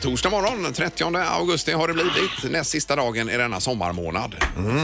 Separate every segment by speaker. Speaker 1: torsdag morgon, 30 augusti har det blivit. Näst sista dagen i denna sommarmånad.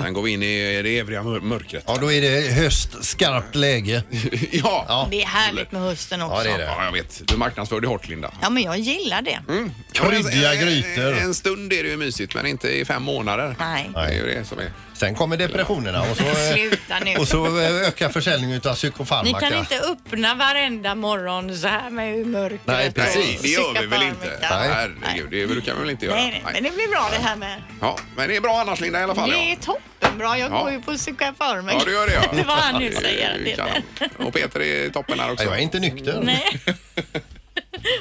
Speaker 1: Sen går vi in i det eviga mör- mörkret.
Speaker 2: Mm. Ja, då är det höst, skarpt läge.
Speaker 1: ja.
Speaker 2: Ja.
Speaker 3: Det är härligt med hösten också.
Speaker 2: Ja, det är det.
Speaker 1: ja, jag vet. Du marknadsförde hårt, Linda.
Speaker 3: Ja, men jag gillar det.
Speaker 1: Mm.
Speaker 2: Kryddiga
Speaker 1: En- en-
Speaker 2: grytor.
Speaker 1: eh, En stund är det ju mysigt, men inte i fem månader.
Speaker 3: Nej.
Speaker 1: Det är ju det som är.
Speaker 2: Sen kommer depressionerna och så, eh,
Speaker 3: Sluta nu.
Speaker 2: och så eh, ökar försäljningen av
Speaker 3: Ni
Speaker 2: psykofarmaka.
Speaker 3: kan inte öppna varenda morgon så här med hur mörkret
Speaker 2: Nej,
Speaker 3: och
Speaker 2: precis.
Speaker 1: Det gör vi väl inte?
Speaker 3: psykofarmaka.
Speaker 2: Nej.
Speaker 1: Herregud, det brukar vi väl inte göra?
Speaker 3: Nej, nej, men det blir bra det här med.
Speaker 1: Ja, men det är bra annars, Linda, i alla fall.
Speaker 3: Det
Speaker 1: ja.
Speaker 3: är toppenbra. Jag
Speaker 1: Ja.
Speaker 3: går ju på psykofarmaka.
Speaker 1: Ja, du gör det ja.
Speaker 3: Det var han nu
Speaker 1: Ja, det är
Speaker 3: säger. Det
Speaker 1: kanon. Och Peter är toppen här också.
Speaker 2: Ja, Jag är inte nykter.
Speaker 3: Nej.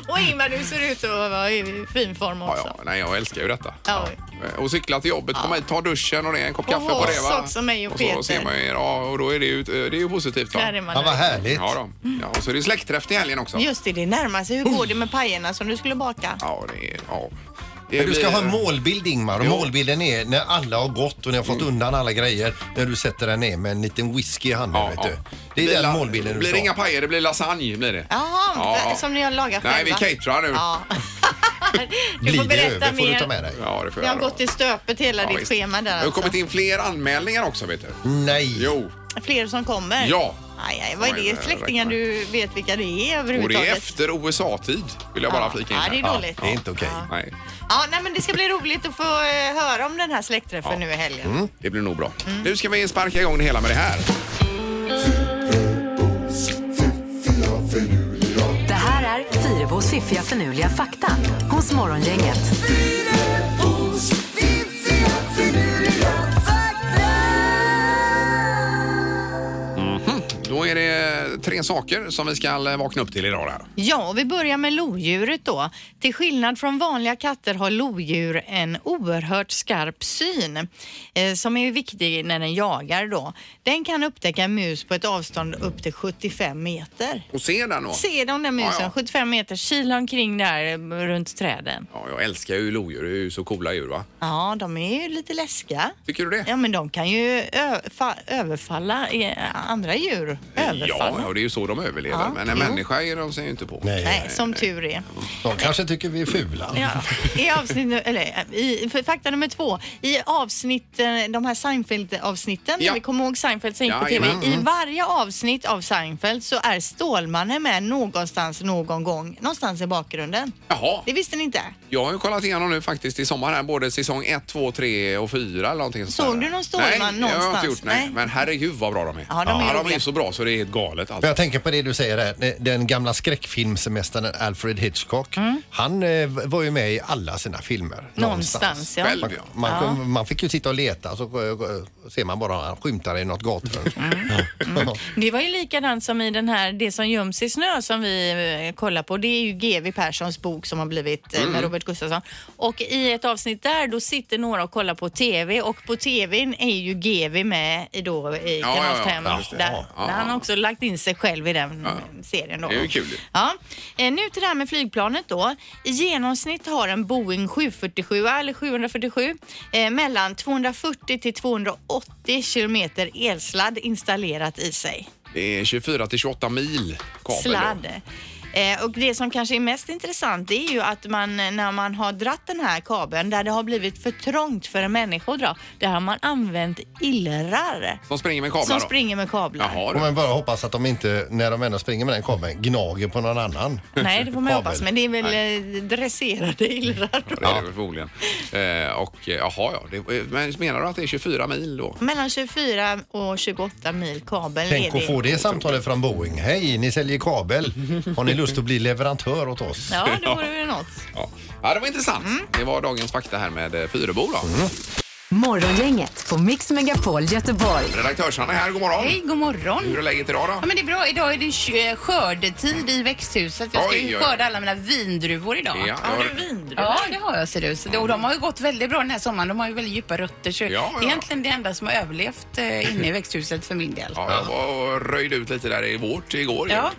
Speaker 3: Och Ingmar, du ser ut att vara i fin form
Speaker 1: Ja,
Speaker 3: också.
Speaker 1: ja. Nej, jag älskar ju detta.
Speaker 3: Ja.
Speaker 1: Eh, Och cykla till jobbet, komma hit, ta duschen och det, en kopp
Speaker 3: Och
Speaker 1: kaffe på det
Speaker 3: oss
Speaker 1: va?
Speaker 3: också, mig och
Speaker 1: så
Speaker 3: Peter.
Speaker 1: ser man ju, ja, och då är det ju, eh, det är ju positivt. Då.
Speaker 3: Där är man
Speaker 2: Ja, vad
Speaker 3: nöjd.
Speaker 2: härligt.
Speaker 1: Ja, då. ja, och så är det släktträff till helgen också.
Speaker 3: Just det, det närmar sig. Hur går det med pajerna som du skulle baka?
Speaker 1: Ja, det är, ja. Det
Speaker 2: Men du ska
Speaker 1: blir-
Speaker 2: ha en målbild Ingmar och målbilden är när alla har gått och ni har
Speaker 1: Mm.
Speaker 2: fått undan alla grejer när du sätter dig ner med en liten whisky i handen.
Speaker 1: Ja,
Speaker 2: vet
Speaker 1: ja.
Speaker 2: du. Det är
Speaker 1: blir
Speaker 2: den
Speaker 1: la-
Speaker 2: målbilden du
Speaker 1: blir
Speaker 2: ska
Speaker 1: det inga
Speaker 2: ha.
Speaker 1: pajer, det blir lasagne blir det.
Speaker 3: Jaha,
Speaker 1: Ja.
Speaker 3: som ni har lagat
Speaker 1: Nej,
Speaker 3: själva?
Speaker 1: vi caterar nu.
Speaker 3: Ja. du
Speaker 2: Glider
Speaker 3: får berätta
Speaker 2: över får du ta
Speaker 3: mer.
Speaker 2: med dig.
Speaker 1: Ja, det får
Speaker 3: Det
Speaker 1: jag
Speaker 3: har
Speaker 1: då.
Speaker 3: gått i stöpet hela
Speaker 1: Ja,
Speaker 3: ditt
Speaker 1: visst.
Speaker 3: schema där
Speaker 1: Det har
Speaker 3: alltså.
Speaker 1: kommit in fler anmälningar också vet du.
Speaker 2: Nej.
Speaker 1: Jo,
Speaker 3: Fler som kommer?
Speaker 1: Ja.
Speaker 3: Aj, aj, vad är
Speaker 1: Oj,
Speaker 3: det? Släktingar
Speaker 1: räkna.
Speaker 3: du vet vilka det är
Speaker 1: och det
Speaker 3: överhuvudtaget?
Speaker 1: är efter USA-tid vill jag bara flika in
Speaker 3: Ja,
Speaker 1: här.
Speaker 3: det är dåligt.
Speaker 2: det är inte okej.
Speaker 3: Ja.
Speaker 1: Nej,
Speaker 3: Ja, nej, men det ska bli roligt att få eh, höra om den här släktträffen
Speaker 1: Ja. Mm.
Speaker 3: nu i helgen.
Speaker 1: det blir nog bra.
Speaker 3: Mm.
Speaker 1: Nu ska vi sparka igång det hela med det här.
Speaker 4: Det här är Fyrabos fiffiga förnuliga fakta hos Morgongänget.
Speaker 1: Då är det tre saker som vi ska eh, vakna upp till idag. Här.
Speaker 3: Ja, och vi börjar med lodjuret då. Till skillnad från vanliga katter har lodjur en oerhört skarp syn eh, som är viktig när den jagar då. Den kan upptäcka en mus på ett avstånd upp till 75 meter.
Speaker 1: Och se den då.
Speaker 3: Ser de den musen,
Speaker 1: Ja, ja.
Speaker 3: 75 meter, kilar omkring där eh, runt träden.
Speaker 1: Ja, jag älskar ju lodjur, det är ju så coola djur va?
Speaker 3: Ja, de är ju lite läskiga.
Speaker 1: Tycker du det?
Speaker 3: Ja, men de kan ju ö- fa- överfalla eh, andra djur. Överfalla.
Speaker 1: ja, och det är ju så de överlever.
Speaker 3: Ja,
Speaker 1: Men en
Speaker 3: jo.
Speaker 1: människa är de sig ju inte på.
Speaker 2: Nej.
Speaker 3: Nej, som tur är.
Speaker 2: De kanske tycker vi är fula.
Speaker 3: Ja, i avsnitt, nu- eller i, för fakta nummer två. I avsnitt, eh, de här Seinfeld-avsnitten,
Speaker 1: Ja.
Speaker 3: vi kommer ihåg Seinfeld som gick på TV.
Speaker 1: Jajamän.
Speaker 3: I varje avsnitt av Seinfeld så är Stålmannen med någonstans, någon gång, någonstans i bakgrunden.
Speaker 1: Jaha,
Speaker 3: Det visste ni inte?
Speaker 1: jag har ju kollat igenom nu faktiskt i sommar här, både säsong 1, 2, 3 och 4 eller någonting sånt
Speaker 3: Såg
Speaker 1: där.
Speaker 3: du någon Stålman
Speaker 1: Nej, det har jag inte
Speaker 3: någonstans?
Speaker 1: gjort. Nej.
Speaker 3: Nej.
Speaker 1: Men herregud vad bra de är.
Speaker 3: Ja, de är
Speaker 1: ja, de
Speaker 3: roliga.
Speaker 1: är så bra så det är helt galet alltså.
Speaker 2: Men jag tänker på det du säger här, den gamla skräckfilmsmästaren Alfred Hitchcock.
Speaker 3: Mm.
Speaker 2: Han eh, var ju med i alla sina filmer.
Speaker 3: Någonstans, ja.
Speaker 1: Själv,
Speaker 2: Man,
Speaker 1: ja.
Speaker 2: man, man fick ju sitta och leta så eh, ser man bara han skymtar i något gathörn.
Speaker 3: Mm.
Speaker 2: Ja.
Speaker 3: Det var ju likadant som i den här Det som göms i snö som vi eh, kollar på. Det är ju GV Perssons bok som har blivit eh,
Speaker 1: Mm.
Speaker 3: med Robert Gustafsson. Och i ett avsnitt där då sitter några och kollar på TV och på TVn är ju GV med i, då, i
Speaker 1: Ja,
Speaker 3: Kanal
Speaker 1: ja, ja.
Speaker 3: 5.
Speaker 1: Ja, just det.
Speaker 3: där,
Speaker 1: Ja, ja,
Speaker 3: där han
Speaker 1: ja.
Speaker 3: har också lagt in sig själv i den eh, serien. Då.
Speaker 1: Det är ju kul.
Speaker 3: Ja. Eh, Nu till det här med flygplanet då. I genomsnitt har en Boeing 747 eller 747 eh, mellan 240 till 280 kilometer elsladd installerat i sig.
Speaker 1: Det är 24 till 28 mil kabel. då.
Speaker 3: Sladd. Eh, Och det som kanske är mest intressant det är ju att man eh, när man har dratt den här kabeln där det har blivit för trångt för en människa att dra, där har man använt illrar
Speaker 1: Som springer med kablar
Speaker 3: som
Speaker 1: då?
Speaker 3: springer med kablar.
Speaker 1: Jaha,
Speaker 2: Och
Speaker 1: du.
Speaker 2: man bara hoppas att de inte, när de ändå springer med den kabeln, gnager på någon annan.
Speaker 3: Nej, det får man
Speaker 2: Kabel.
Speaker 3: hoppas, men det är väl eh, dresserade illrar då.
Speaker 1: Ja, det är det väl förmodligen. Eh, och, eh, jaha, ja. Det, eh, men menar du att det är 24 mil då?
Speaker 3: Mellan 24 och 28 mil kabel är
Speaker 2: Tänk
Speaker 3: det.
Speaker 2: att få det samtalet från Boeing. Hej, ni säljer kabel. Har ni lust att bli leverantör åt oss?
Speaker 3: Ja, det vore väl något.
Speaker 1: Ja. ja, det var intressant. Det var dagens fakta här med eh, Fyrebo då.
Speaker 4: Morgongänget på Mix Megapol Göteborg.
Speaker 1: Redaktörs-Hanna är här, god morgon.
Speaker 5: Hej, god morgon.
Speaker 1: Hur är läget idag
Speaker 5: Ja,
Speaker 1: då?
Speaker 5: men det är bra. Idag är det kö- eh, skördetid i växthuset. Jag ska
Speaker 1: Oj,
Speaker 5: ju
Speaker 1: oj, oj.
Speaker 5: skörda alla mina vindruvor idag.
Speaker 1: Ja,
Speaker 3: Har
Speaker 1: jag-
Speaker 3: du vindruvor?
Speaker 5: Ja, det har jag ser du. Så det, och de har ju gått väldigt bra den här sommaren. De har ju väldigt djupa rötter. Så
Speaker 1: ja.
Speaker 5: det är egentligen det enda som har överlevt eh, inne i växthuset för min del.
Speaker 1: Ja, jag var och röjde ut lite där i vårt igår.
Speaker 5: Ja.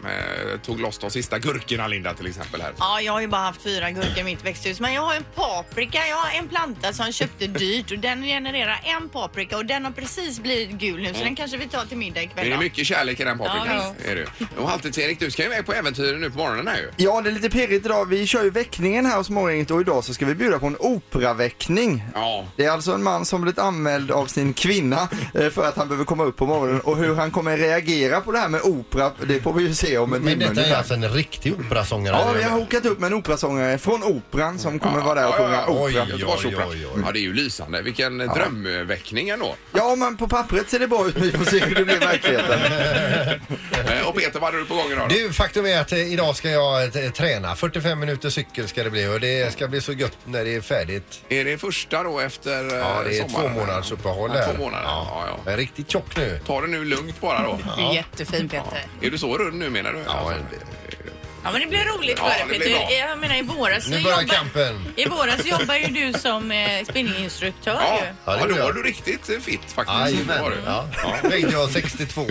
Speaker 1: ju. Eh, Tog loss de sista gurkorna, Linda, till exempel. här.
Speaker 3: Ja, jag har ju bara haft fyra gurkor i mitt växthus. Men jag har en paprika, jag har en planta som jag köpte dyrt och den generera en paprika och den har precis blivit gul nu så den kanske vi tar till middag ikväll.
Speaker 1: Det är
Speaker 3: då.
Speaker 1: mycket kärlek i den paprikan.
Speaker 3: Ja, visst.
Speaker 1: är det. ju. Och Halvtids-Erik, du ska ju iväg på äventyr nu på morgonen här ju.
Speaker 6: Ja, det är lite pirrigt idag. Vi kör ju väckningen här hos Morgongänget och idag så ska vi bjuda på en operaväckning.
Speaker 1: Ja.
Speaker 6: Det är alltså en man som blivit anmäld av sin kvinna eh, för att han behöver komma upp på morgonen och hur han kommer reagera på det här med opera, det får vi ju se om en
Speaker 2: Men
Speaker 6: timme
Speaker 2: detta är
Speaker 6: ungefär.
Speaker 2: alltså en riktig operasångare.
Speaker 6: Ja, vi har hokat upp med en operasångare från Operan som kommer vara där och
Speaker 1: Ja, ja,
Speaker 6: sjunga
Speaker 1: ja.
Speaker 6: opera.
Speaker 2: Oj,
Speaker 1: Göteborgsopera.
Speaker 2: oj, oj.
Speaker 1: Ja, det är ju lysande. Vilken drömväckning ändå.
Speaker 6: Ja, men på pappret ser det bra ut. Vi får se hur det blir i verkligheten.
Speaker 1: Eh, Och Peter, vad hade du på gång idag? då?
Speaker 2: Du, faktum är att eh, idag ska jag eh, träna. 45 minuter cykel ska det bli och det ska bli så gött när det är färdigt.
Speaker 1: Är det första då efter eh,
Speaker 2: Ja, det är två
Speaker 1: sommaren?
Speaker 2: månaders uppehåll
Speaker 1: Ja,
Speaker 2: här.
Speaker 1: två månader. Ja,
Speaker 2: Jag är riktigt tjock nu.
Speaker 1: Ta det nu lugnt bara då.
Speaker 3: Du är jättefin Peter.
Speaker 1: Är du så rund nu menar du?
Speaker 2: Ja,
Speaker 3: Ja men det blir roligt
Speaker 1: Ja,
Speaker 3: för
Speaker 1: det
Speaker 3: dig
Speaker 1: blir bra.
Speaker 3: Peter. Jag menar i våras
Speaker 2: Nu
Speaker 3: så
Speaker 2: börjar
Speaker 3: jobbar-
Speaker 2: kampen.
Speaker 3: I våras jobbar ju du som eh, spinninginstruktör
Speaker 1: Ja,
Speaker 3: ju.
Speaker 2: Ja, det
Speaker 1: ja, då
Speaker 2: gör jag.
Speaker 1: var du riktigt eh, fit faktiskt. Det var
Speaker 2: Jajamän.
Speaker 1: du.
Speaker 2: Ja. Vägde jag 62.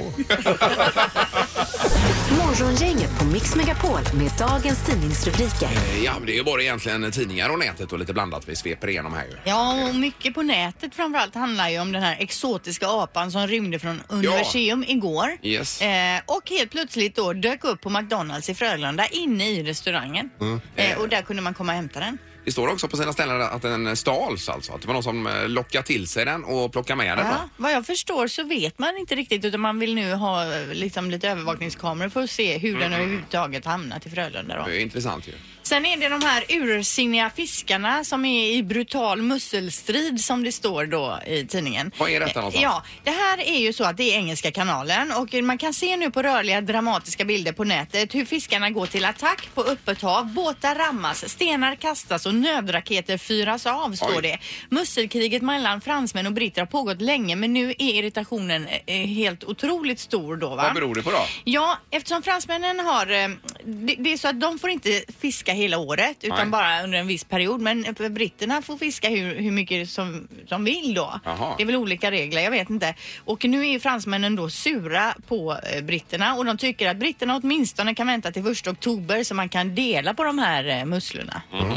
Speaker 4: Morgongänget på Mix Megapol med dagens tidningsrubriker.
Speaker 1: Eh, Ja, men det är ju bara egentligen tidningar och nätet och lite blandat vi sveper igenom här ju.
Speaker 3: Ja, och mycket på nätet framförallt handlar ju om den här exotiska apan som rymde från universum igår.
Speaker 1: Yes.
Speaker 3: Eh, och helt plötsligt då dök upp på McDonalds i Frölunda inne i restaurangen. Eh, och där kunde man komma och hämta den.
Speaker 1: Det står också på sina ställen att den stals alltså. Att det var någon som eh, lockade till sig den och plockade med den.
Speaker 3: Ja,
Speaker 1: va?
Speaker 3: vad jag förstår så vet man inte riktigt utan man vill nu ha eh, liksom, lite övervakningskameror för att se hur den överhuvudtaget hamnat i Frölunda. Då.
Speaker 1: Det är intressant ju.
Speaker 3: Sen är det de här ursinniga fiskarna som är i brutal musselstrid som det står då i tidningen.
Speaker 1: Vad är detta någonstans?
Speaker 3: Ja, det här är ju så att det är Engelska kanalen och man kan se nu på rörliga dramatiska bilder på nätet hur fiskarna går till attack på öppet hav. Båtar rammas, stenar kastas och nödraketer fyras av står
Speaker 1: Oj.
Speaker 3: det. Musselkriget mellan fransmän och britter har pågått länge men nu är irritationen eh, helt otroligt stor då va?
Speaker 1: Vad beror det på då?
Speaker 3: Ja, eftersom fransmännen har... eh, Det, det är så att de får inte fiska hela året utan
Speaker 1: Nej.
Speaker 3: bara under en viss period. Men eh, britterna får fiska hur, hur mycket som de vill då.
Speaker 1: Jaha.
Speaker 3: Det är väl olika regler, jag vet inte. Och nu är ju fransmännen då sura på eh, britterna och de tycker att britterna åtminstone kan vänta till 1 oktober så man kan dela på de här eh, musslorna.
Speaker 2: Mm.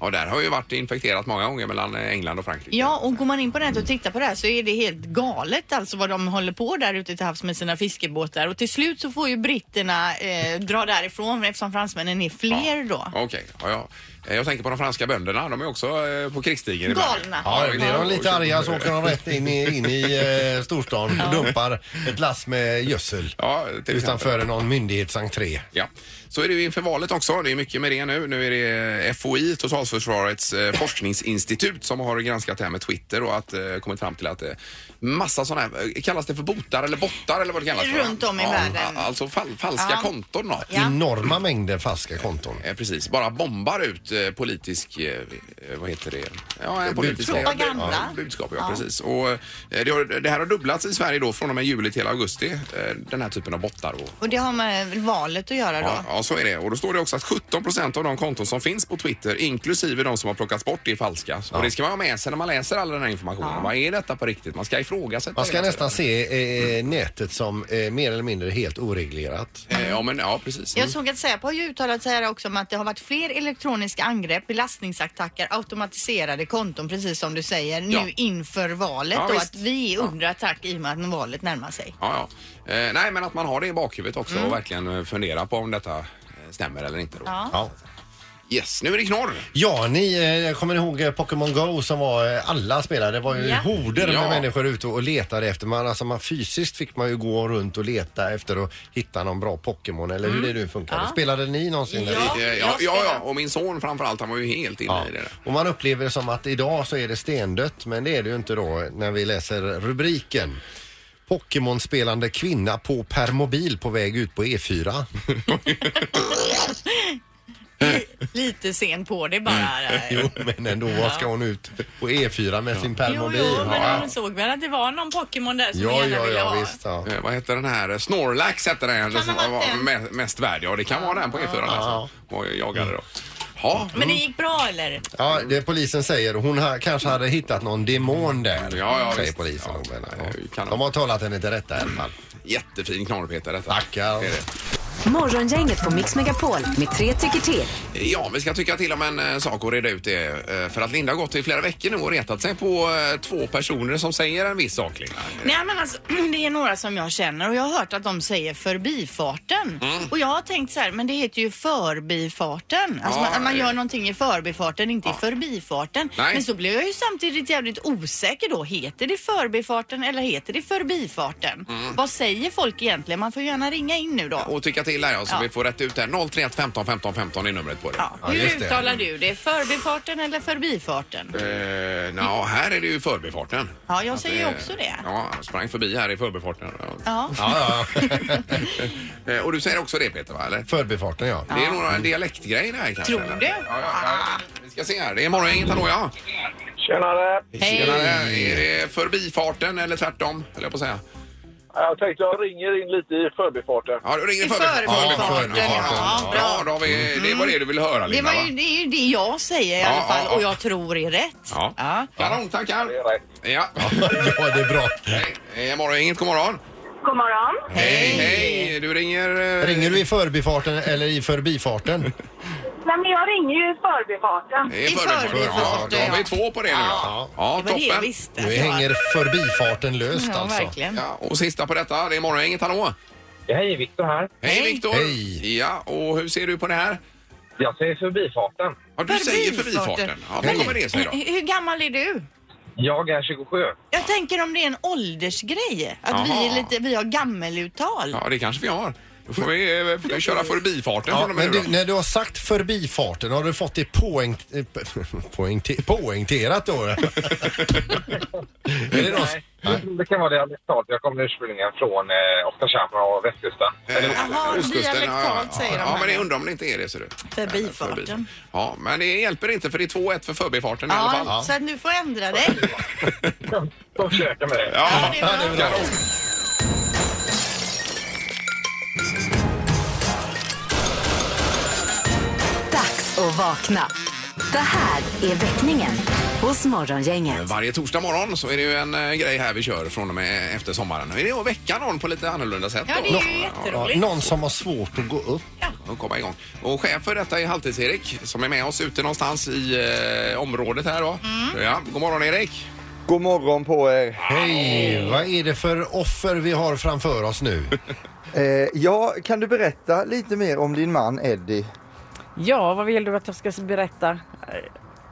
Speaker 1: Ja, där har ju varit infekterat många gånger mellan eh, England och Frankrike.
Speaker 3: Ja, och går man in på nätet och tittar på det här så är det helt galet alltså vad de håller på där ute till havs med sina fiskebåtar. Och till slut så får ju britterna eh, dra därifrån eftersom fransmännen är fler då.
Speaker 1: Okej, ja, ja. Eh, Jag tänker på de franska bönderna. De är också eh, på krigsstigen.
Speaker 3: Galna.
Speaker 1: ibland.
Speaker 2: Ja,
Speaker 1: visst.
Speaker 2: blir de lite arga så åker de rätt in i, in i eh, storstan och dumpar ett lass med gödsel.
Speaker 1: Ja, till exempel.
Speaker 2: Utanför någon myndighets entré.
Speaker 1: Ja. Så är det ju inför valet också. Det är mycket med det nu. Nu är det eh, FOI, Totalförsvarets eh, forskningsinstitut, som har granskat det här med Twitter och att, eh, kommit fram till att eh, massa sådana här, eh, kallas det för botar eller bottar eller vad det kallas för?
Speaker 3: Runt om i
Speaker 1: ja,
Speaker 3: världen.
Speaker 1: Alltså fall, falska
Speaker 3: Ja.
Speaker 1: konton då.
Speaker 3: Ja.
Speaker 2: Enorma mängder falska konton.
Speaker 1: Eh, precis, bara bombar ut eh, politisk, eh, eh, vad heter det? Ja, en politisk
Speaker 2: Budskap.
Speaker 3: Propaganda.
Speaker 1: Ja, budskap, ja, precis. Och, eh, det, har, det här har dubblats i Sverige då från och med juli till augusti, eh, den här typen av bottar. Och,
Speaker 3: Och det har med valet att göra då.
Speaker 1: ja, Mm. ja, så är det. Och då står det också att 17 procent av de konton som finns på Twitter, inklusive de som har plockats bort, är falska. Och det ska man ha med sig när man läser all den här informationen. Vad är detta på riktigt? Man ska ifrågasätta.
Speaker 2: Man ska
Speaker 1: hela
Speaker 2: nästan
Speaker 1: tiden.
Speaker 2: se eh, nätet som eh, mer eller mindre helt oreglerat.
Speaker 1: Eh, Ja, men ja, precis.
Speaker 3: Jag såg att Säpo har ju uttalat sig här också om att det har varit fler elektroniska angrepp, belastningsattacker, automatiserade konton precis som du säger nu
Speaker 1: Ja.
Speaker 3: inför valet
Speaker 1: Ja,
Speaker 3: och
Speaker 1: visst.
Speaker 3: att vi är under attack i och med att valet närmar sig.
Speaker 1: Ja, ja. Eh, nej, men att man har det i bakhuvudet också och verkligen eh, fundera på om detta eh, stämmer eller inte. Då.
Speaker 2: Ja.
Speaker 1: Yes, nu är det knorr.
Speaker 2: Ja, ni eh, kommer ihåg eh, Pokémon Go som var eh, alla spelare. Det var ju
Speaker 3: Ja.
Speaker 2: horder med
Speaker 1: Ja.
Speaker 2: människor ute och letade efter. Man, alltså, man, fysiskt fick man ju gå runt och leta efter och hitta någon bra Pokémon eller hur det nu funkade. Spelade ni någonsin?
Speaker 3: Mm. Ja.
Speaker 1: Eh, ja,
Speaker 3: jag
Speaker 1: ja,
Speaker 3: spelar.
Speaker 1: ja, och min son framförallt, han var ju helt inne
Speaker 2: Ja.
Speaker 1: i det där.
Speaker 2: Och man upplever det som att idag så är det stendött, men det är det ju inte då när vi läser rubriken. Pokémon-spelande kvinna på permobil på väg ut på E E4.
Speaker 3: Lite sen på det bara.
Speaker 1: Mm.
Speaker 3: eh,
Speaker 2: Jo, men ändå, vad ska hon ut på E4 med sin
Speaker 3: Jo,
Speaker 2: permobil?
Speaker 3: jo, men
Speaker 2: ja,
Speaker 3: hon såg väl att det var någon Pokémon där som
Speaker 2: ja,
Speaker 3: gärna
Speaker 2: ja,
Speaker 3: ville
Speaker 2: ja,
Speaker 3: ha.
Speaker 2: visst. Ja.
Speaker 1: Eh, vad heter den här? Snorlax hette den
Speaker 3: Kan
Speaker 1: som
Speaker 3: ha varit
Speaker 1: var
Speaker 3: den?
Speaker 1: me- mest värd. Ja, det kan vara den på E4 alltså. Och jag jagade då. Ja,
Speaker 2: Mm.
Speaker 3: Men det gick bra eller?
Speaker 2: Ja, det polisen säger. Hon har, kanske hade hittat någon demon där.
Speaker 1: Ja, ja,
Speaker 2: säger
Speaker 1: visst.
Speaker 2: polisen.
Speaker 1: Ja,
Speaker 2: Ja,
Speaker 1: det är ju kanon.
Speaker 2: De har talat henne till rätta i alla fall.
Speaker 1: jättefin knorr Peter detta.
Speaker 2: Tackar.
Speaker 1: Det är det.
Speaker 4: Morgongänget på Mix Megapol med tre tycker till.
Speaker 1: Ja, vi ska tycka till om en eh, sak och reda ut det. eh, För att Linda har gått i flera veckor nu och retat sig på eh, två personer som säger en viss sak. Linda.
Speaker 3: Nej men alltså, det är några som jag känner och jag har hört att de säger förbifarten. Och jag har tänkt så här, men det heter ju förbifarten. Alltså
Speaker 1: Ja,
Speaker 3: man, man
Speaker 1: ja.
Speaker 3: gör någonting i förbifarten, inte i förbifarten.
Speaker 1: Nej.
Speaker 3: Men så blir jag ju samtidigt jävligt osäker då. Heter det förbifarten eller heter det förbifarten? Vad säger folk egentligen? Man får gärna ringa in nu då.
Speaker 1: Och tycka till där ja, så
Speaker 3: Ja.
Speaker 1: vi får rätt ut det här. 031 15 15 15 är numret på det.
Speaker 3: Ja, hur
Speaker 2: just det.
Speaker 3: uttalar du det? Förbifarten eller förbifarten?
Speaker 1: Eh, nå, här är det ju förbifarten.
Speaker 3: Ja, jag
Speaker 1: Att
Speaker 3: säger också det.
Speaker 1: Ja, jag sprang förbi här i förbifarten. Ja.
Speaker 3: Ja.
Speaker 2: Ja, ja.
Speaker 1: Eh, Och du säger också det Peter, va? Eller?
Speaker 2: Förbifarten, ja.
Speaker 1: Det är några dialektgrejer det här kanske.
Speaker 3: Tror
Speaker 1: eller?
Speaker 3: du?
Speaker 1: Ja, ja, ja. Vi ska se här. Det är morgongänget, hallå ja.
Speaker 7: Tjenare!
Speaker 3: Hej.
Speaker 1: Tjenare. Är det förbifarten eller tvärtom, höll jag på att säga?
Speaker 7: Jag tänkte jag ringer in lite i förbifarten.
Speaker 1: Ja, du ringer
Speaker 3: I
Speaker 1: förbif-
Speaker 3: förbifarten,
Speaker 1: förbifarten,
Speaker 3: ja.
Speaker 1: Ja, ja, då har vi, det var det du ville höra
Speaker 3: Det,
Speaker 1: Linda,
Speaker 3: var
Speaker 1: va?
Speaker 3: ju, det är ju det jag säger i
Speaker 1: Ja,
Speaker 3: alla fall
Speaker 1: ja, ja.
Speaker 3: och jag tror är rätt.
Speaker 1: Ja.
Speaker 3: Ja.
Speaker 1: Kanon, tackar.
Speaker 7: Det är rätt.
Speaker 1: Ja.
Speaker 2: Ja, det är bra.
Speaker 1: Hej. Eh, Morgongänget, god morgon.
Speaker 8: God morgon.
Speaker 1: Hej, hej. Du ringer... eh,
Speaker 2: Ringer du i förbifarten eller i förbifarten?
Speaker 8: Nej, men jag ringer ju i förbifarten.
Speaker 1: I
Speaker 3: I
Speaker 1: förbifarten. Ja, då
Speaker 3: förbifarten,
Speaker 1: har vi
Speaker 3: ja.
Speaker 1: två på det nu då. Ja,
Speaker 3: Det var det jag
Speaker 1: toppen.
Speaker 3: visste.
Speaker 2: Nu hänger förbifarten löst
Speaker 3: ja,
Speaker 2: alltså.
Speaker 3: verkligen.
Speaker 1: Ja, och sista på detta, det är morgongänget, hallå.
Speaker 7: Hej, Viktor här.
Speaker 1: Hej
Speaker 3: Hej.
Speaker 1: Viktor!
Speaker 2: Hej.
Speaker 1: Ja, och hur ser du på det här?
Speaker 7: Jag säger förbifarten.
Speaker 1: Ja, du säger förbifarten. Ja, vad kommer det sig då?
Speaker 3: Hur hur gammal är du?
Speaker 7: Jag är 27.
Speaker 3: Jag tänker om det är en åldersgrej,
Speaker 1: Jaha.
Speaker 3: att vi, är lite, vi har gammeluttal.
Speaker 1: Ja, det kanske vi har. Då får vi eh, f- köra förbifarten
Speaker 2: Ja,
Speaker 1: från och med
Speaker 2: men
Speaker 1: nu
Speaker 2: du,
Speaker 1: då.
Speaker 2: när du har sagt förbifarten, har du fått det poäng, eh, poäng, poängterat då? är det någon,
Speaker 7: Nej, jag tror det kan vara dialektalt. Jag kommer ursprungligen från eh, Oskarshamn och Västkusten. Eller-
Speaker 3: Jaha,
Speaker 1: Ostkusten, Eh, ja,
Speaker 3: dialektalt
Speaker 1: ja,
Speaker 3: säger de
Speaker 1: Ja,
Speaker 3: här.
Speaker 1: men jag undrar om det inte är det. Ser du.
Speaker 3: Förbifarten.
Speaker 1: Ja, men det hjälper inte för det är 2-1 för förbifarten i alla fall.
Speaker 3: Ja, så att nu får jag ändra dig.
Speaker 7: De försöker med det.
Speaker 1: Ja,
Speaker 3: Ja, det är bra.
Speaker 1: kanon.
Speaker 4: Dags att vakna. Det här är väckningen hos Morgongänget.
Speaker 1: Varje torsdag morgon så är det ju en eh, grej här vi kör från och med efter sommaren. Är det att väcka någon på lite annorlunda sätt
Speaker 3: Ja,
Speaker 1: då?
Speaker 3: det är ju
Speaker 2: ja,
Speaker 3: jätteroligt.
Speaker 2: någon som har svårt att gå upp?
Speaker 1: och komma igång. Och chef för detta är Halvtids-Erik som är med oss ute någonstans i eh, området här då.
Speaker 3: Mm.
Speaker 1: Ja, god morgon Erik!
Speaker 6: God morgon på er.
Speaker 2: Hej, vad är det för offer vi har framför oss nu?
Speaker 6: Eh, ja, kan du berätta lite mer om din man Eddie?
Speaker 9: Ja, vad vill du att jag ska berätta? Eh,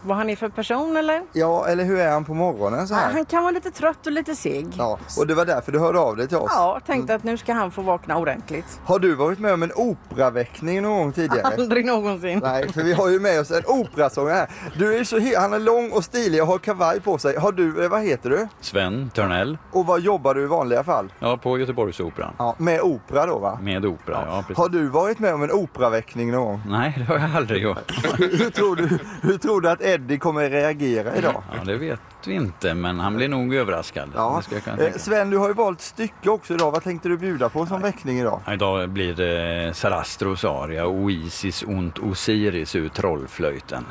Speaker 9: Vad han är för person eller?
Speaker 6: Ja, eller hur är han på morgonen så
Speaker 9: Ah,
Speaker 6: här?
Speaker 9: Han kan vara lite trött och lite seg.
Speaker 6: Ja, och det var därför du hörde av dig till oss.
Speaker 9: Ja, tänkte att nu ska han få vakna ordentligt.
Speaker 6: Har du varit med om en operaväckning någon gång tidigare?
Speaker 9: Aldrig någonsin.
Speaker 6: Nej, för vi har ju med oss en operasångare här. Du är så he- han är lång och stilig och har kavaj på sig. Har du, eh, vad heter du?
Speaker 10: Sven Törnell,
Speaker 6: Och vad jobbar du i vanliga fall?
Speaker 10: ja, på Göteborgsoperan.
Speaker 6: Ja, med opera då va?
Speaker 10: Med opera, ja precis.
Speaker 6: Har du varit med om en operaväckning någon gång?
Speaker 10: Nej, det har jag aldrig gjort.
Speaker 6: Hur tror du, hur tror du att Eddie kommer reagera idag?
Speaker 10: Ja, det vet vi inte, men han blir nog överraskad.
Speaker 6: Ja.
Speaker 10: Det ska jag kunna
Speaker 6: Eh,
Speaker 10: tänka.
Speaker 6: Sven, du har ju valt stycke också idag. Vad tänkte du bjuda på som väckning idag?
Speaker 10: Ja, Idag blir eh, det Sarastros aria, Oasis ont Osiris ur Trollflöjten.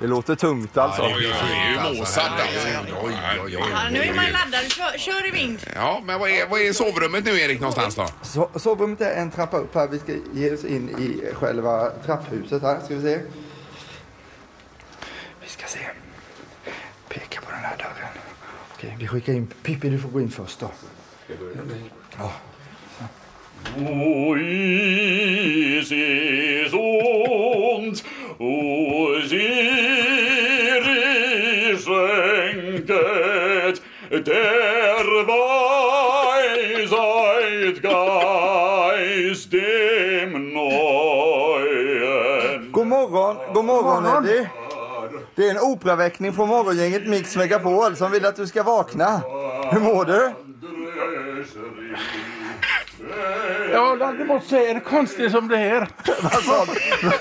Speaker 6: Det låter tungt alltså.
Speaker 1: Oj, oj, oj, det alltså, är ju Mozart
Speaker 2: Oj, oj, oj.
Speaker 3: Ja, nu är man laddad. Kör, kör i vind.
Speaker 1: Ja, men vad är, vad är sovrummet nu Erik någonstans då?
Speaker 6: So- Sovrummet är en trappa upp här. Vi ska ge oss in i själva trapphuset här. Ska vi se. Vi ska se. Peka på den här dörren. Okej, vi skickar in Pippi. Du får gå in först då.
Speaker 11: Oasis und Osiris schenket der Weisheit Geist dem Neuen.
Speaker 6: God morgon, god morgon Eddie. Det är en operaväckning från morgongänget Mix Megapol som vill att du ska vakna. Hur mår du?
Speaker 11: Jag har aldrig mått säga en konstig som det här.
Speaker 6: Vad sa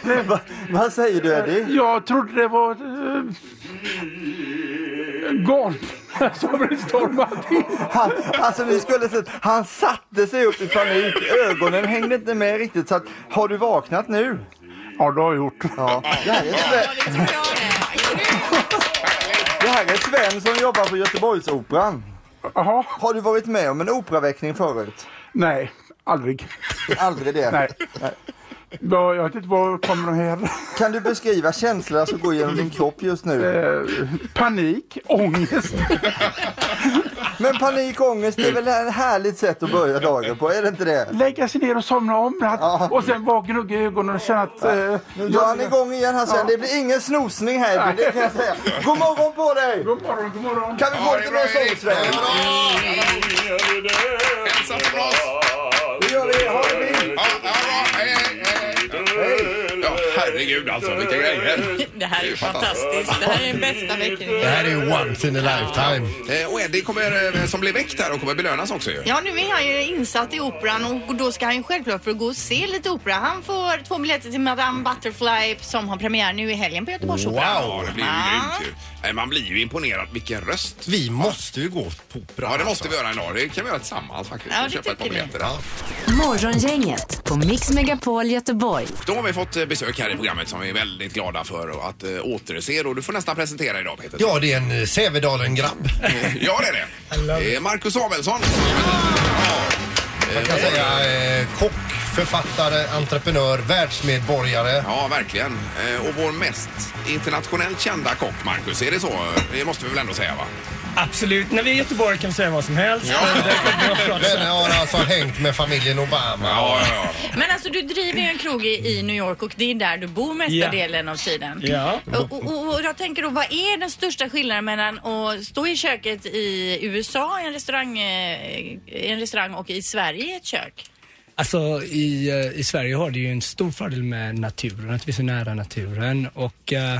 Speaker 6: du? Va- Vad säger du Eddie?
Speaker 11: Jag trodde det var... Eh, galna som blev stormad.
Speaker 6: Han, alltså ni skulle sett, han satte sig upp i panik. Ögonen hängde inte med riktigt så att, har du vaknat nu?
Speaker 11: Ja, det har jag gjort.
Speaker 6: Ja. Det här är Sven,
Speaker 3: Ja, det tror jag med.
Speaker 6: det här är Sven som jobbar på Göteborgsoperan.
Speaker 11: Jaha,
Speaker 6: Har du varit med om en operaväckning förut?
Speaker 11: nej. Aldrig.
Speaker 6: Aldrig det?
Speaker 11: Nej. Då, jag vet inte var kommer de här.
Speaker 6: Kan du beskriva känslorna som går genom din kropp just nu?
Speaker 11: eh, panik, ångest.
Speaker 6: Men panik och ångest, det är väl ett härligt sätt att börja dagen på, är det inte det?
Speaker 11: Lägga sig ner och somna om natt och sen vakna upp i ögonen och känna att... Eh,
Speaker 6: Nu drar han igång igen här sen. Det blir ingen snosning här, det kan jag säga. God morgon på dig!
Speaker 11: God morgon, god morgon.
Speaker 6: Kan vi få lite mer sång, Sven?
Speaker 1: Hälsa från oss!
Speaker 6: Vi gör det, ha det fint!
Speaker 1: Ja, ja, ja, hej, hej, hej. Ja, herregud alltså, vilka grejer!
Speaker 3: Det här är ju fantastiskt. Det här är den bästa
Speaker 2: Det
Speaker 3: väckningen.
Speaker 2: här är ju once in a lifetime.
Speaker 1: Eh, Och Eddie kommer, eh, som blev väckt här och kommer belönas också ju.
Speaker 3: Ja, nu är han ju insatt i operan och då ska han ju självklart för att gå och se lite opera. Han får två biljetter till Madame Butterfly som har premiär nu i helgen på Göteborgsoperan.
Speaker 1: Ja, det blir ju grymt ju. Nej, man blir ju imponerad. Vilken röst!
Speaker 2: Vi måste ju gå på opera.
Speaker 1: Ja, det måste vi göra en dag. Det kan vi göra tillsammans faktiskt.
Speaker 3: Ja,
Speaker 1: Och
Speaker 3: det
Speaker 1: köpa ett par
Speaker 3: tycker vi.
Speaker 1: biljetter. Ja.
Speaker 4: Morgongänget på Mix Megapol Göteborg.
Speaker 1: Då har vi fått eh, besök här i programmet som vi är väldigt glada för och att eh, återse. Och du får nästan presentera idag Peter.
Speaker 2: Ja, det är en eh, Sävedalen-grabb.
Speaker 1: ja det är det. Eh, Marcus Samuelsson.
Speaker 2: Man kan säga eh, kock, författare, entreprenör, världsmedborgare.
Speaker 1: Ja, verkligen. Eh, Och vår mest internationellt kända kock, Marcus. Är det så? Det måste vi väl ändå säga, va?
Speaker 12: Absolut, när vi är i Göteborg kan vi säga vad som helst.
Speaker 2: Den har alltså hängt med familjen Obama.
Speaker 1: Ja, ja, ja.
Speaker 3: Men alltså du driver ju en krog i, i New York och det är där du bor mesta
Speaker 12: Ja.
Speaker 3: delen av tiden.
Speaker 12: Ja.
Speaker 3: Och, och, och jag tänker då, vad är den största skillnaden mellan att stå i köket i USA i en restaurang, eh, i en restaurang och i Sverige i ett kök?
Speaker 12: Alltså i, eh, i Sverige har det ju en stor fördel med naturen, att vi är så nära naturen och eh,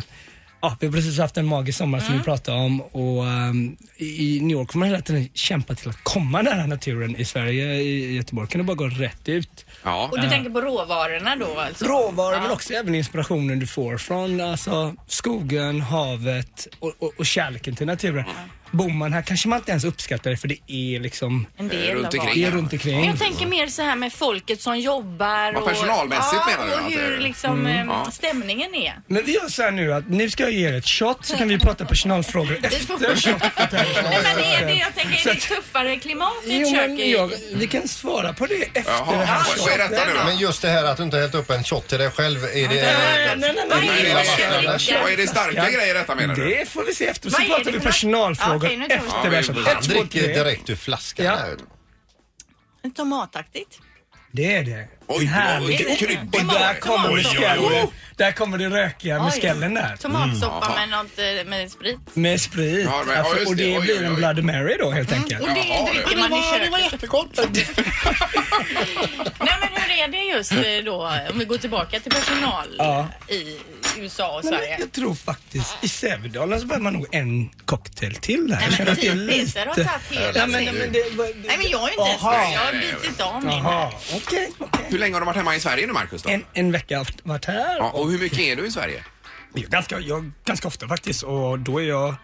Speaker 12: ja, vi har precis haft en magisk sommar
Speaker 3: Mm.
Speaker 12: som vi pratade om och ehm, i i New York får man hela tiden kämpa till att komma nära naturen. I Sverige, i Göteborg kan det bara gå rätt ut.
Speaker 1: Ja.
Speaker 3: Och du tänker på råvarorna då alltså?
Speaker 12: Råvaror men också även inspirationen du får från alltså, skogen, havet och, och, och kärleken till naturen. Bor man här kanske man inte ens uppskattar det för det är liksom
Speaker 3: En del
Speaker 1: Eh, runt
Speaker 3: av vardagen.
Speaker 1: omkring.
Speaker 12: det är runt
Speaker 3: Men
Speaker 12: omkring.
Speaker 3: jag tänker mer så här med folket som jobbar.
Speaker 1: Ja, personalmässigt
Speaker 3: och,
Speaker 1: menar du
Speaker 3: Ja,
Speaker 1: att
Speaker 3: och
Speaker 1: det är
Speaker 3: hur
Speaker 1: det?
Speaker 3: liksom eh,
Speaker 1: Ja.
Speaker 3: stämningen är.
Speaker 12: Men vi gör så här nu att nu ska jag ge er ett shot så kan vi prata personalfrågor
Speaker 3: Vi får-
Speaker 12: efter shotet. här.
Speaker 3: Nej, men det är det jag tänker, är det tuffare klimat i ett
Speaker 12: Jo,
Speaker 3: kök?
Speaker 12: men
Speaker 3: i-
Speaker 12: jag, vi kan svara på det efter
Speaker 1: Jaha,
Speaker 12: det här
Speaker 1: vad- vad är detta nu då?
Speaker 2: Men just det här att du inte hällt upp en shot till dig själv, är det...
Speaker 12: Nej, nej, nej,
Speaker 3: Vad
Speaker 12: nej.
Speaker 1: Nej,
Speaker 3: är
Speaker 1: det
Speaker 3: det
Speaker 1: var-
Speaker 3: för dricka?
Speaker 1: Vad är det starka grejer i detta menar du?
Speaker 12: Det får vi se efter.
Speaker 3: Vad
Speaker 12: Så
Speaker 3: är det
Speaker 12: pratar
Speaker 3: för
Speaker 12: vi
Speaker 3: något?
Speaker 12: personalfrågor
Speaker 3: Okej, nu tar vi-
Speaker 12: efter det här shotet.
Speaker 1: Han
Speaker 12: Ett,
Speaker 2: Han
Speaker 12: två,
Speaker 2: dricker
Speaker 12: tre.
Speaker 2: direkt ur flaskan.
Speaker 12: Ja.
Speaker 2: här.
Speaker 3: Tomataktigt.
Speaker 12: Det är det.
Speaker 1: Oj,
Speaker 12: En härlig-
Speaker 1: vilken kryddig-
Speaker 12: Och där kommer
Speaker 1: Oj, oj, oj.
Speaker 12: muskellen. Där kommer det rökiga
Speaker 3: Oj.
Speaker 12: muskellen där.
Speaker 3: Tomatsoppa
Speaker 1: Mm.
Speaker 3: med, något, eh, med sprit.
Speaker 12: Med sprit.
Speaker 1: Ja, men- ja,
Speaker 12: alltså,
Speaker 1: just
Speaker 12: och
Speaker 1: det.
Speaker 12: det
Speaker 1: Oj,
Speaker 12: blir
Speaker 1: oj,
Speaker 12: en
Speaker 1: oj.
Speaker 12: Bloody Mary då helt enkelt.
Speaker 3: Mm, Och det
Speaker 1: Jaha,
Speaker 3: dricker man i köket.
Speaker 12: jättegott.
Speaker 3: Nej men hur är det just eh, då om vi går tillbaka till personal
Speaker 12: Ja.
Speaker 3: i USA och
Speaker 12: Men
Speaker 3: Sverige?
Speaker 12: jag tror faktiskt i Sävedalen så behöver man nog en cocktail till där.
Speaker 3: Nej,
Speaker 12: Jag känner
Speaker 3: men
Speaker 12: att det är
Speaker 3: typ Peter har tagit hela
Speaker 12: Ja, men,
Speaker 3: sin.
Speaker 12: men det, var- det...
Speaker 3: Nej men jag är ju inte ens
Speaker 12: Aha.
Speaker 3: där. Jag har bitit av min.
Speaker 12: Jaha, okej. okej.
Speaker 1: Hur länge har du varit hemma i Sverige nu, Marcus? Då?
Speaker 12: En, en vecka har jag varit här.
Speaker 1: Ja, och hur mycket är du i Sverige?
Speaker 12: Det är Ganska, jag, ganska ofta faktiskt och då är jag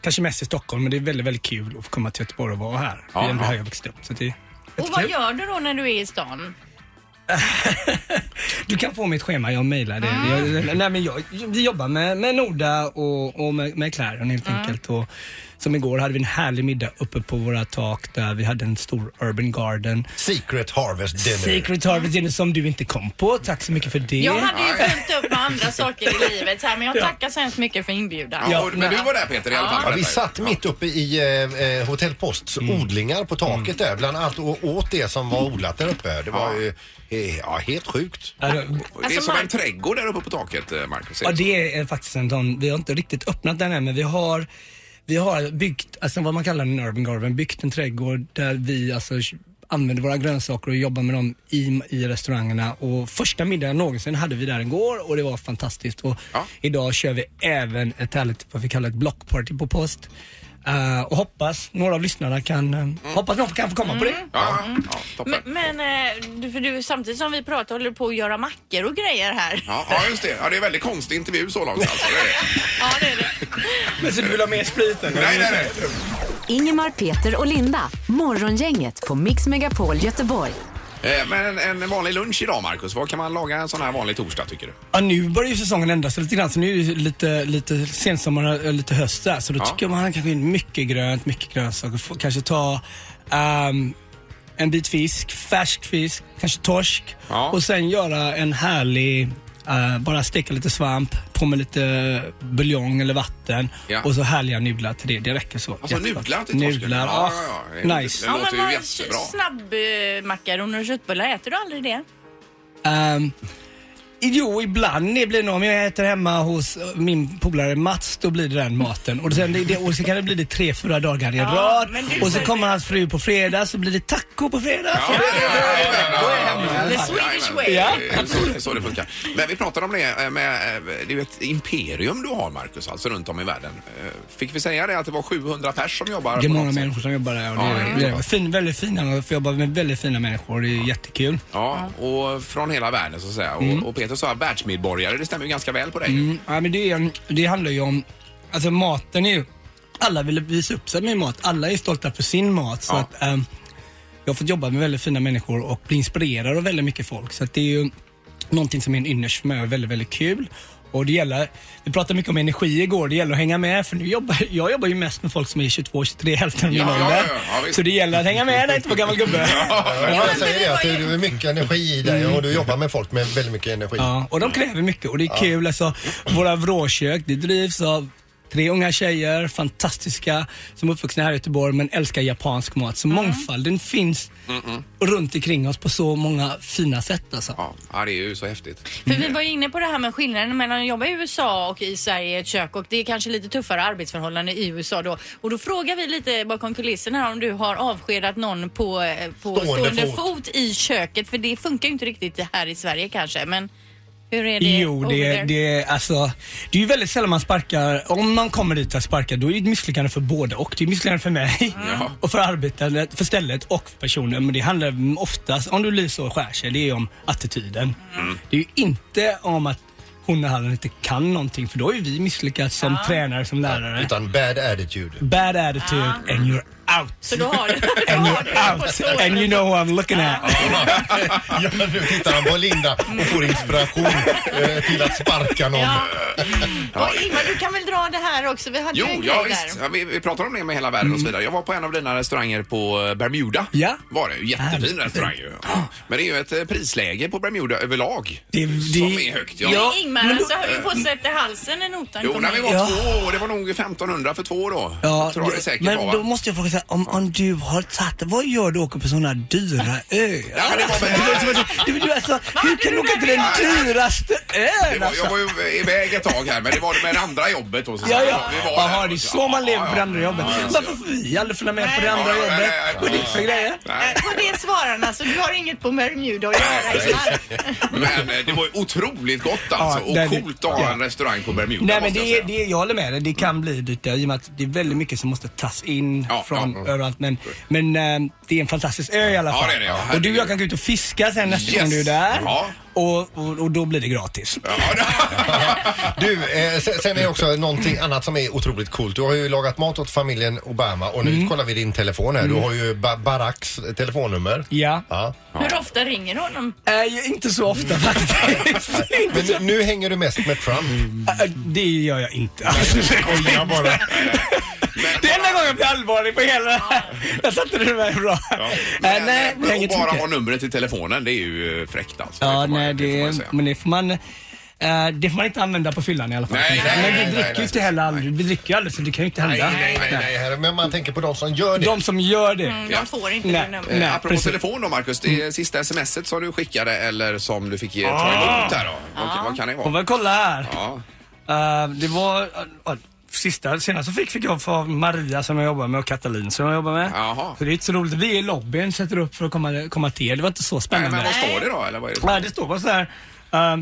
Speaker 12: kanske mest i Stockholm men det är väldigt, väldigt kul att få komma till Göteborg och vara här.
Speaker 1: Ja,
Speaker 12: det är ändå
Speaker 1: ja.
Speaker 12: här jag växte upp. Så det är
Speaker 3: Och vad
Speaker 12: jättekul.
Speaker 3: gör du då när du är i stan?
Speaker 12: Du kan få mitt schema, jag mejlar det.
Speaker 3: Ah.
Speaker 12: Jag, nej, men jag, vi jobbar med, med Norda och, och med, med Clarion
Speaker 3: Ah.
Speaker 12: helt enkelt. Och, som igår hade vi en härlig middag uppe på våra tak där vi hade en stor urban garden.
Speaker 2: Secret Harvest Dinner.
Speaker 12: Secret Harvest Dinner som du inte kom på. Tack så mycket för det.
Speaker 3: Jag hade ju fullt upp med andra saker i livet så här, men jag tackar så hemskt mycket för inbjudan.
Speaker 1: Ja, och, men du var där Peter i alla fall. på
Speaker 2: Ja, vi
Speaker 1: detta.
Speaker 2: satt mitt uppe i eh, eh, Hotell Posts odlingar på taket där, bland allt och åt det som var odlat där uppe. Det var ju eh, Mm. ja, helt sjukt.
Speaker 12: Ja, det-
Speaker 1: Det är
Speaker 3: Alltså,
Speaker 1: som en
Speaker 3: Mark-
Speaker 1: trädgård där uppe på taket, eh, Marcus.
Speaker 12: Ja, det är faktiskt en sån, vi har inte riktigt öppnat den än men vi har vi har byggt, alltså vad man kallar en urban garden, byggt en trädgård där vi alltså använder våra grönsaker och jobbar med dem i, i restaurangerna. Och första middagen någonsin hade vi där igår och det var fantastiskt. Och
Speaker 1: Ja.
Speaker 12: Idag kör vi även ett härligt, vad vi kallar ett blockparty på post. Eh, och hoppas några av lyssnarna kan,
Speaker 1: Mm.
Speaker 12: eh, hoppas någon kan få komma på det.
Speaker 1: Ja, ja, toppen.
Speaker 3: Men, men eh, du, för du, samtidigt som vi pratar håller du på att göra mackor och grejer här.
Speaker 1: Ja, ja, just det. Ja, det är en väldigt konstig intervju så långt alltså. Det är det.
Speaker 3: Ja, det är det.
Speaker 12: Men så du vill ha mer sprit än
Speaker 1: Nej, nej, nej.
Speaker 4: Ingemar, Peter och Linda. Morgongänget på Mix Megapol Göteborg.
Speaker 1: Eh, Men en, en vanlig lunch idag, Marcus. Vad kan man laga en sån här vanlig torsdag, tycker du?
Speaker 12: Ja, nu börjar ju säsongen ändras lite grann. Så nu är det ju lite, lite sensommar och lite höst där. Så då
Speaker 1: Ja.
Speaker 12: tycker jag man kan få in mycket grönt, mycket grönsaker. Få- Kanske ta ehm, en bit fisk, färsk fisk, kanske torsk.
Speaker 1: Ja.
Speaker 12: Och sen göra en härlig, eh, bara steka lite svamp, på med lite buljong eller vatten
Speaker 1: Ja.
Speaker 12: och så härliga nudlar till det. Det räcker så.
Speaker 1: Alltså
Speaker 12: Jättegott.
Speaker 1: nudlar till torsken?
Speaker 12: Nudlar,
Speaker 1: Ja,
Speaker 12: ja.
Speaker 1: ja, ja. Det-
Speaker 12: Nice.
Speaker 1: det låter ju
Speaker 3: vad-
Speaker 1: jättebra.
Speaker 3: Snabbmakaroner och köttbullar, äter du aldrig det?
Speaker 12: Ehm, jo, ibland det blir nog om jag äter hemma hos eh, min polare Mats, då blir det den maten. Och sen, det- det, och sen kan det bli det tre, fyra dagar i
Speaker 3: Ja,
Speaker 12: rad.
Speaker 3: men du-
Speaker 12: Och så kommer hans fru på fredag, så blir det taco på fredag.
Speaker 1: Ja,
Speaker 3: The
Speaker 1: ja,
Speaker 3: Swedish
Speaker 1: ja,
Speaker 3: way.
Speaker 1: ja, ja, så- Så det funkar. Men vi pratar om det eh, med, eh, det är ju ett imperium du har Marcus, alltså runt om i världen. Eh, Fick vi säga det att det var 700 pers som jobbar?
Speaker 12: Det
Speaker 1: på
Speaker 12: är många
Speaker 1: något sätt?
Speaker 12: människor som jobbar där och det,
Speaker 1: Ja, det är
Speaker 12: det är
Speaker 1: klart.
Speaker 12: fin, väldigt fina, för jag jobbar med väldigt fina människor. Det är jättekul.
Speaker 1: Ja, och från hela världen så att säga.
Speaker 12: Mm.
Speaker 1: Och, och Peter sa världsmedborgare, det stämmer ju ganska väl på dig.
Speaker 12: Mm, ja, men det, är en, det handlar ju om, alltså maten är ju, alla vill visa upp sig med mat. Alla är stolta för sin mat. Så
Speaker 1: Ja.
Speaker 12: att, ehm, jag har fått jobba med väldigt fina människor och bli inspirerad av väldigt mycket folk. Så att det är ju någonting som är en ynnest för mig och väldigt, väldigt kul. Och det gäller, vi pratade mycket om energi igår, det gäller att hänga med för nu jobbar, jag jobbar ju mest med folk som är 22, 23, hälften av min
Speaker 2: Ja, ja,
Speaker 12: ålder.
Speaker 2: ja, ja, visst.
Speaker 12: så det gäller att hänga med, när jag inte vara gammal gubbe.
Speaker 2: Ja, jag säger det Mm. att det är mycket energi i dig och du jobbar med folk med väldigt mycket energi.
Speaker 12: Ja, och de kräver mycket och det är kul. Alltså, våra vråkök, det drivs av tre unga tjejer, fantastiska, som är uppvuxna här i Göteborg men älskar japansk mat. Så mångfalden finns runt omkring oss på så många fina sätt alltså.
Speaker 1: Ja, det är ju så häftigt.
Speaker 3: För vi var ju inne på det här med skillnaden mellan att jobba i USA och i Sverige i ett kök och det är kanske lite tuffare arbetsförhållanden i USA då. Och då frågar vi lite bakom kulisserna här om du har avskedat någon på, eh, på
Speaker 13: Stående
Speaker 3: stående,
Speaker 13: fot.
Speaker 3: fot. i köket för det funkar ju inte riktigt här i Sverige kanske men hur är det
Speaker 12: Jo,
Speaker 3: over
Speaker 12: det,
Speaker 3: there?
Speaker 12: det, alltså, det är ju väldigt sällan man sparkar. Om man kommer dit att sparka, då är det ett misslyckande för båda och. Det är ett misslyckande för mig och för arbetet, för stället och för personen. Men det handlar oftast, om du blir så och skär sig, det är om attityden.
Speaker 3: Mm.
Speaker 12: Det är ju inte om att hon eller han inte kan någonting, för då är vi misslyckats som tränare, som lärare.
Speaker 2: Utan bad attitude.
Speaker 12: Bad attitude and you're out.
Speaker 3: Så då har du...
Speaker 12: And you're out and you know who I'm looking at.
Speaker 2: Ja, nu tittar han på Linda och får inspiration eh, till att sparka någon.
Speaker 3: Ja. Och Ingvar, du kan väl dra det här också? Vi hade
Speaker 1: Jo,
Speaker 3: ju en grej
Speaker 1: ja,
Speaker 3: där.
Speaker 1: visst. Ja, vi, vi pratar om det med hela världen och så vidare. Jag var på en av dina restauranger på eh, Bermuda.
Speaker 12: Mm. Ja.
Speaker 1: Var det. Jättefin restaurang ju. Ja. Men det är ju ett eh, prisläge på Bermuda överlag.
Speaker 12: Det,
Speaker 1: Som är högt. Ja.
Speaker 3: Men Ingmar, alltså höll ju på att sätta halsen när notan
Speaker 1: Jo,
Speaker 3: kom
Speaker 1: när vi
Speaker 3: in.
Speaker 1: var två år, det var nog 1500 för två år då.
Speaker 12: Ja,
Speaker 1: tror jag det
Speaker 12: det-
Speaker 1: säkert
Speaker 12: men
Speaker 1: var, va?
Speaker 12: då måste jag fråga så här, om, om du har tagit det, vad gör du åker på sådana dyra öar?
Speaker 1: Ja, men det var väl-
Speaker 12: Du vet, som att- du, du, alltså, hur kan du åka till den dyraste
Speaker 1: Det
Speaker 12: ön?
Speaker 1: var,
Speaker 12: Alltså?
Speaker 1: jag var ju iväg ett tag här, men det var det med det andra jobbet då. så
Speaker 12: Ja, ja.
Speaker 1: Vi var
Speaker 12: Jaha,
Speaker 1: där.
Speaker 12: det är så man lever på det andra jobbet. Varför får vi aldrig följa med på det andra jobbet? Vad är det för grejer?
Speaker 3: På Eh, det svarar han alltså, du har inget på Bermuda att göra Ingmar.
Speaker 1: Men eh, det var ju otroligt gott alltså.
Speaker 12: nej,
Speaker 1: och
Speaker 12: det-
Speaker 1: coolt att ha en restaurang på Bermuda
Speaker 12: Nej men
Speaker 1: måste jag
Speaker 12: det,
Speaker 1: säga.
Speaker 12: är- det, är- jag håller med dig, det kan bli dyrt där, i och med att det är väldigt mycket som måste tas in från överallt. Men, men eh, det är en fantastisk ö i
Speaker 1: Mm.
Speaker 12: alla
Speaker 1: Ja,
Speaker 12: fall.
Speaker 1: det är det, ja.
Speaker 12: och du och jag kan gå ut och fiska sen nästa gång du är
Speaker 2: Yes.
Speaker 12: där.
Speaker 2: Ja.
Speaker 12: Och, och, och då blir det gratis.
Speaker 2: Du, eh, sen, sen är också någonting annat som är otroligt coolt. Du har ju lagat mat åt familjen Obama och nu kollar vi din telefon här. Du
Speaker 12: Mm.
Speaker 2: har ju ba Baracks telefonnummer.
Speaker 12: Ja.
Speaker 2: ja.
Speaker 3: Hur ofta ringer honom?
Speaker 12: Nej, Äh, inte så ofta faktiskt.
Speaker 2: Men nu, nu hänger du mest med Trump.
Speaker 1: Mm.
Speaker 12: Äh, Det gör jag inte. Alltså, skojar bara. Det är enda gången jag blir allvarlig på hela det här. Jag satte det där bra. Äh, nej, det är
Speaker 1: och
Speaker 12: inget
Speaker 1: eh, bara
Speaker 12: mycket.
Speaker 1: ha numret i telefonen, det är ju eh, fräckt alltså.
Speaker 12: Ja, nej, det, men det får man... eh, det får man inte använda på fyllan i alla fall.
Speaker 1: Nej, nej, nej,
Speaker 12: men vi
Speaker 1: nej,
Speaker 12: dricker ju
Speaker 1: nej.
Speaker 12: inte heller aldrig. Vi dricker ju aldrig så det kan ju inte hända.
Speaker 1: Nej, nej, nej,
Speaker 2: nej. Men man tänker på de som gör det.
Speaker 12: De som gör det.
Speaker 3: Mm, de får inte
Speaker 12: Nej,
Speaker 3: det numret.
Speaker 12: nej,
Speaker 1: Eh, Apropå
Speaker 12: precis. Mm.
Speaker 1: telefon då Marcus, det är sista smset som du skickade eller som du fick
Speaker 12: Ah.
Speaker 1: ge, ta emot här då. Vad, vad kan det
Speaker 12: Får
Speaker 1: vara?
Speaker 12: väl kolla här.
Speaker 1: Ja.
Speaker 12: Eh, det var... Uh, Sista, senast jag fick, fick jag från Maria som jag jobbar med och Katalin som jag jobbar med. Så det är inte så roligt. Vi är i lobbyn, sätter upp för att komma, komma till er. Det var inte så
Speaker 1: Nej,
Speaker 12: spännande.
Speaker 1: men vad står det då? Eller vad är det?
Speaker 12: Nej, det står bara så här. Um,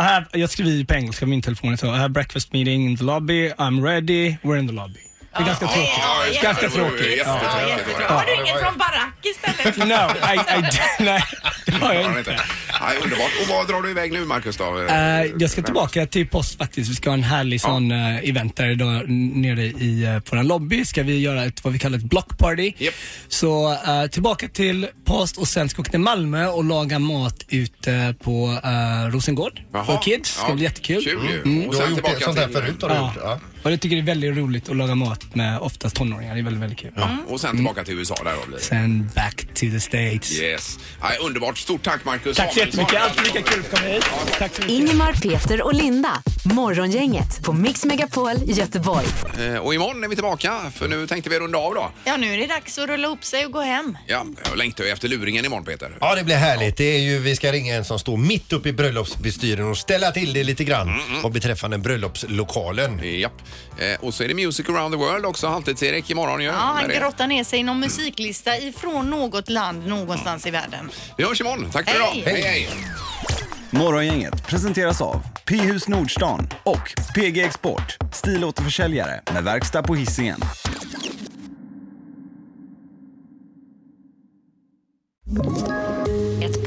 Speaker 12: I have, jag skriver på engelska på min telefon. Så I have breakfast meeting in the lobby. I'm ready. We're in the lobby. Det är ganska tråkigt.
Speaker 1: just det.
Speaker 12: ganska
Speaker 1: Det var ju
Speaker 12: tråkigt.
Speaker 1: jättetråkigt. Ja, jättetråkigt.
Speaker 3: Har du ingen från Barack istället?
Speaker 12: No, I, I, nej, det har jag
Speaker 1: inte. Nej, underbart. Och vad drar du iväg nu Marcus då?
Speaker 12: Eh, jag ska tillbaka till post faktiskt. Vi ska ha en härlig sån eh, event där idag n- nere i uh, vår lobby. Ska vi göra ett, vad vi kallar ett blockparty. Så eh, tillbaka till post och sen ska jag åka till Malmö och laga mat ute på eh, Rosengård
Speaker 1: Jaha.
Speaker 12: för kids. Det ska
Speaker 1: Ja,
Speaker 12: bli jättekul. Mm.
Speaker 1: kul ju. Mm. Och
Speaker 2: Du har
Speaker 1: sen
Speaker 2: gjort det,
Speaker 1: tillbaka
Speaker 2: sånt här
Speaker 1: till-
Speaker 2: förut har du gjort. Ja.
Speaker 12: Och jag tycker det är väldigt roligt att laga mat med oftast tonåringar. Det är väldigt, väldigt kul.
Speaker 1: Ja, Mm. och sen tillbaka till USA där då blir det.
Speaker 12: Sen back to the States.
Speaker 1: Yes. Nej, underbart. Stort tack Marcus
Speaker 12: Tack så
Speaker 1: Samuelsson.
Speaker 12: jättemycket. Alltid lika kul att komma hit. Tack så mycket.
Speaker 4: Ingemar, Peter och Linda. Morgongänget på Mix Megapol Göteborg.
Speaker 1: Eh, Och imorgon är vi tillbaka för nu tänkte vi runda av då.
Speaker 3: Ja, nu är det dags att rulla upp sig och gå hem.
Speaker 1: Ja, jag längtar ju efter luringen imorgon Peter.
Speaker 2: Ja, det blir härligt. Det är ju, vi ska ringa en som står mitt uppe i bröllopsbestyren och ställa till det lite grann
Speaker 1: Mm,
Speaker 2: vad beträffande bröllopslokalen.
Speaker 1: Japp. Eh, Och så är det Music around the world också. Halvtids-Erik imorgon ju.
Speaker 3: Ja,
Speaker 1: Med
Speaker 3: han
Speaker 1: det.
Speaker 3: grottar ner sig i någon musiklista ifrån något land någonstans i världen.
Speaker 1: Vi hörs imorgon. Tack för
Speaker 3: Hej.
Speaker 1: idag. Hej, hej.
Speaker 13: Morgongänget presenteras av P-hus Nordstan och PG Export, stilåterförsäljare med verkstad på Hisingen.
Speaker 14: Ett